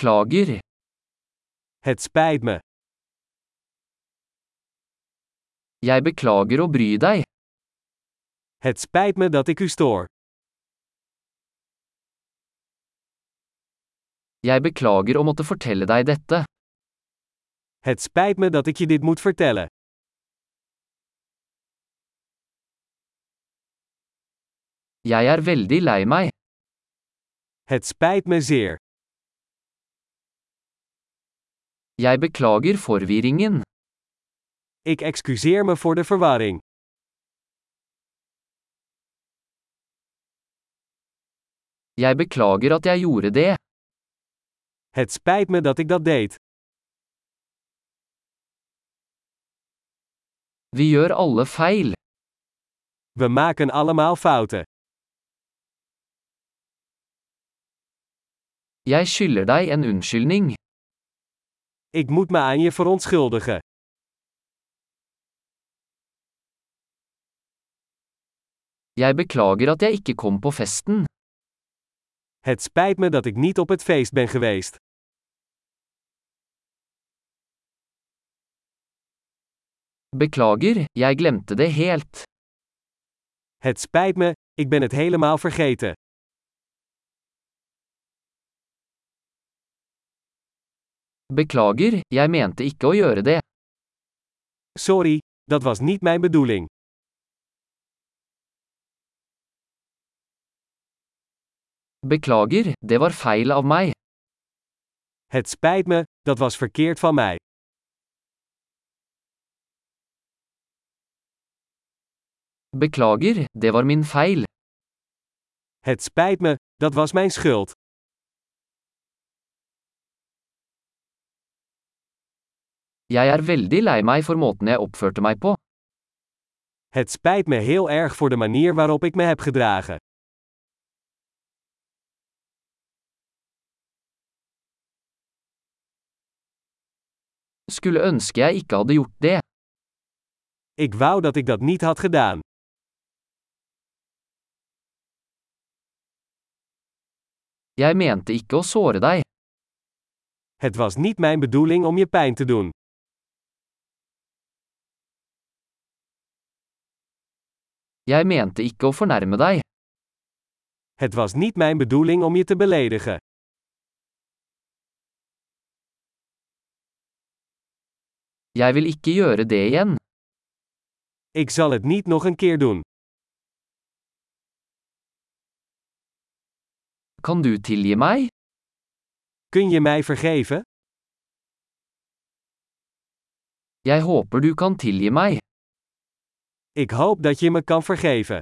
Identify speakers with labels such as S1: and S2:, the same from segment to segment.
S1: Beklager.
S2: Het spijt me.
S1: Jeg beklager å bry deg.
S2: Het spijt me dat ik u stoor.
S1: Jeg beklager å måtte fortelle deg dette.
S2: Het spijt me dat ik je dit moet vertellen.
S1: Jeg er veldig lei meg.
S2: Het spijt me zeer.
S1: Jeg beklager forvirringen.
S2: Ik excuseer me voor de verwarring.
S1: Jeg beklager at jeg gjorde det.
S2: Het spijt me dat ik dat deed.
S1: Vi gjør alle feil.
S2: We maken allemaal fouten.
S1: Jeg skylder deg en unnskyldning.
S2: Ik moet me aan je verontschuldigen.
S1: Jeg beklager at jeg ikke kom på festen.
S2: Het spijt me dat ik niet op het feest ben geweest.
S1: Beklager, jeg glemte det helt.
S2: Het spijt me, ik ben het helemaal vergeten.
S1: Beklager, jeg mente ikke å gjøre det.
S2: Sorry, dat was niet mijn bedoeling.
S1: Beklager, det var feil av meg.
S2: Het spijt me, dat was verkeerd van mij.
S1: Beklager, det var min feil.
S2: Het spijt me, dat was mijn schuld.
S1: Jeg er veldig lei meg for måten jeg oppførte meg på.
S2: Het spijt me heel erg voor de manier waarop ik me heb gedragen.
S1: Skulle ønske jeg ikke hadde gjort det.
S2: Ik wou dat ik dat niet had gedaan.
S1: Jeg mente ikke å såre deg.
S2: Het was niet mijn bedoeling om je pijn te doen.
S1: Jeg mente ikke å fornærme deg.
S2: Het was niet mijn bedoeling om je te beledigen.
S1: Jeg vil ikke gjøre det igjen.
S2: Ik zal het niet nog een keer doen.
S1: Kan du tilgi meg?
S2: Kun je mij vergeven?
S1: Jeg håper du kan tilgi meg.
S2: Ik hoop dat je me kan vergeven.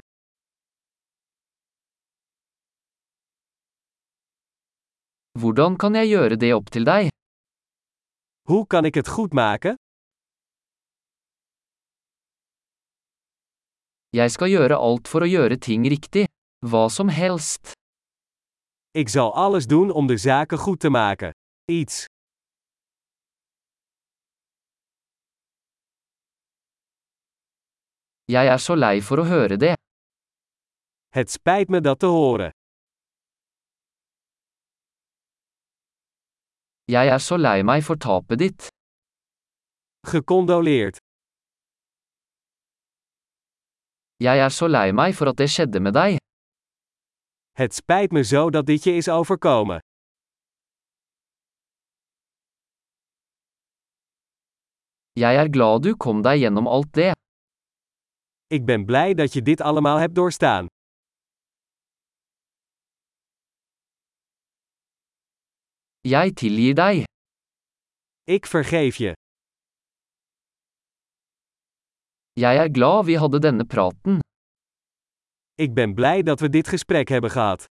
S1: Hvordan kan jeg gjøre det opp til deg?
S2: Hoe kan ik het goed maken?
S1: Jeg skal gjøre alt for å gjøre ting riktig. Hva som helst.
S2: Ik zal alles doen om de zaken goed te maken. Iets.
S1: Jeg er så lei for å høre det.
S2: Het spijt me dat te horen.
S1: Jeg er så lei meg for tapet ditt.
S2: Gecondoleerd.
S1: Jeg er så lei meg for at det skjedde med deg.
S2: Het spijt me zo dat dit je is overkomen.
S1: Jeg er glad du kom deg gjennom alt det.
S2: Ik ben blij dat je dit allemaal hebt doorstaan.
S1: Jeg tilgir deg.
S2: Ik vergeef je.
S1: Jeg er glad vi hadde denne praten.
S2: Ik ben blij dat we dit gesprek hebben gehad.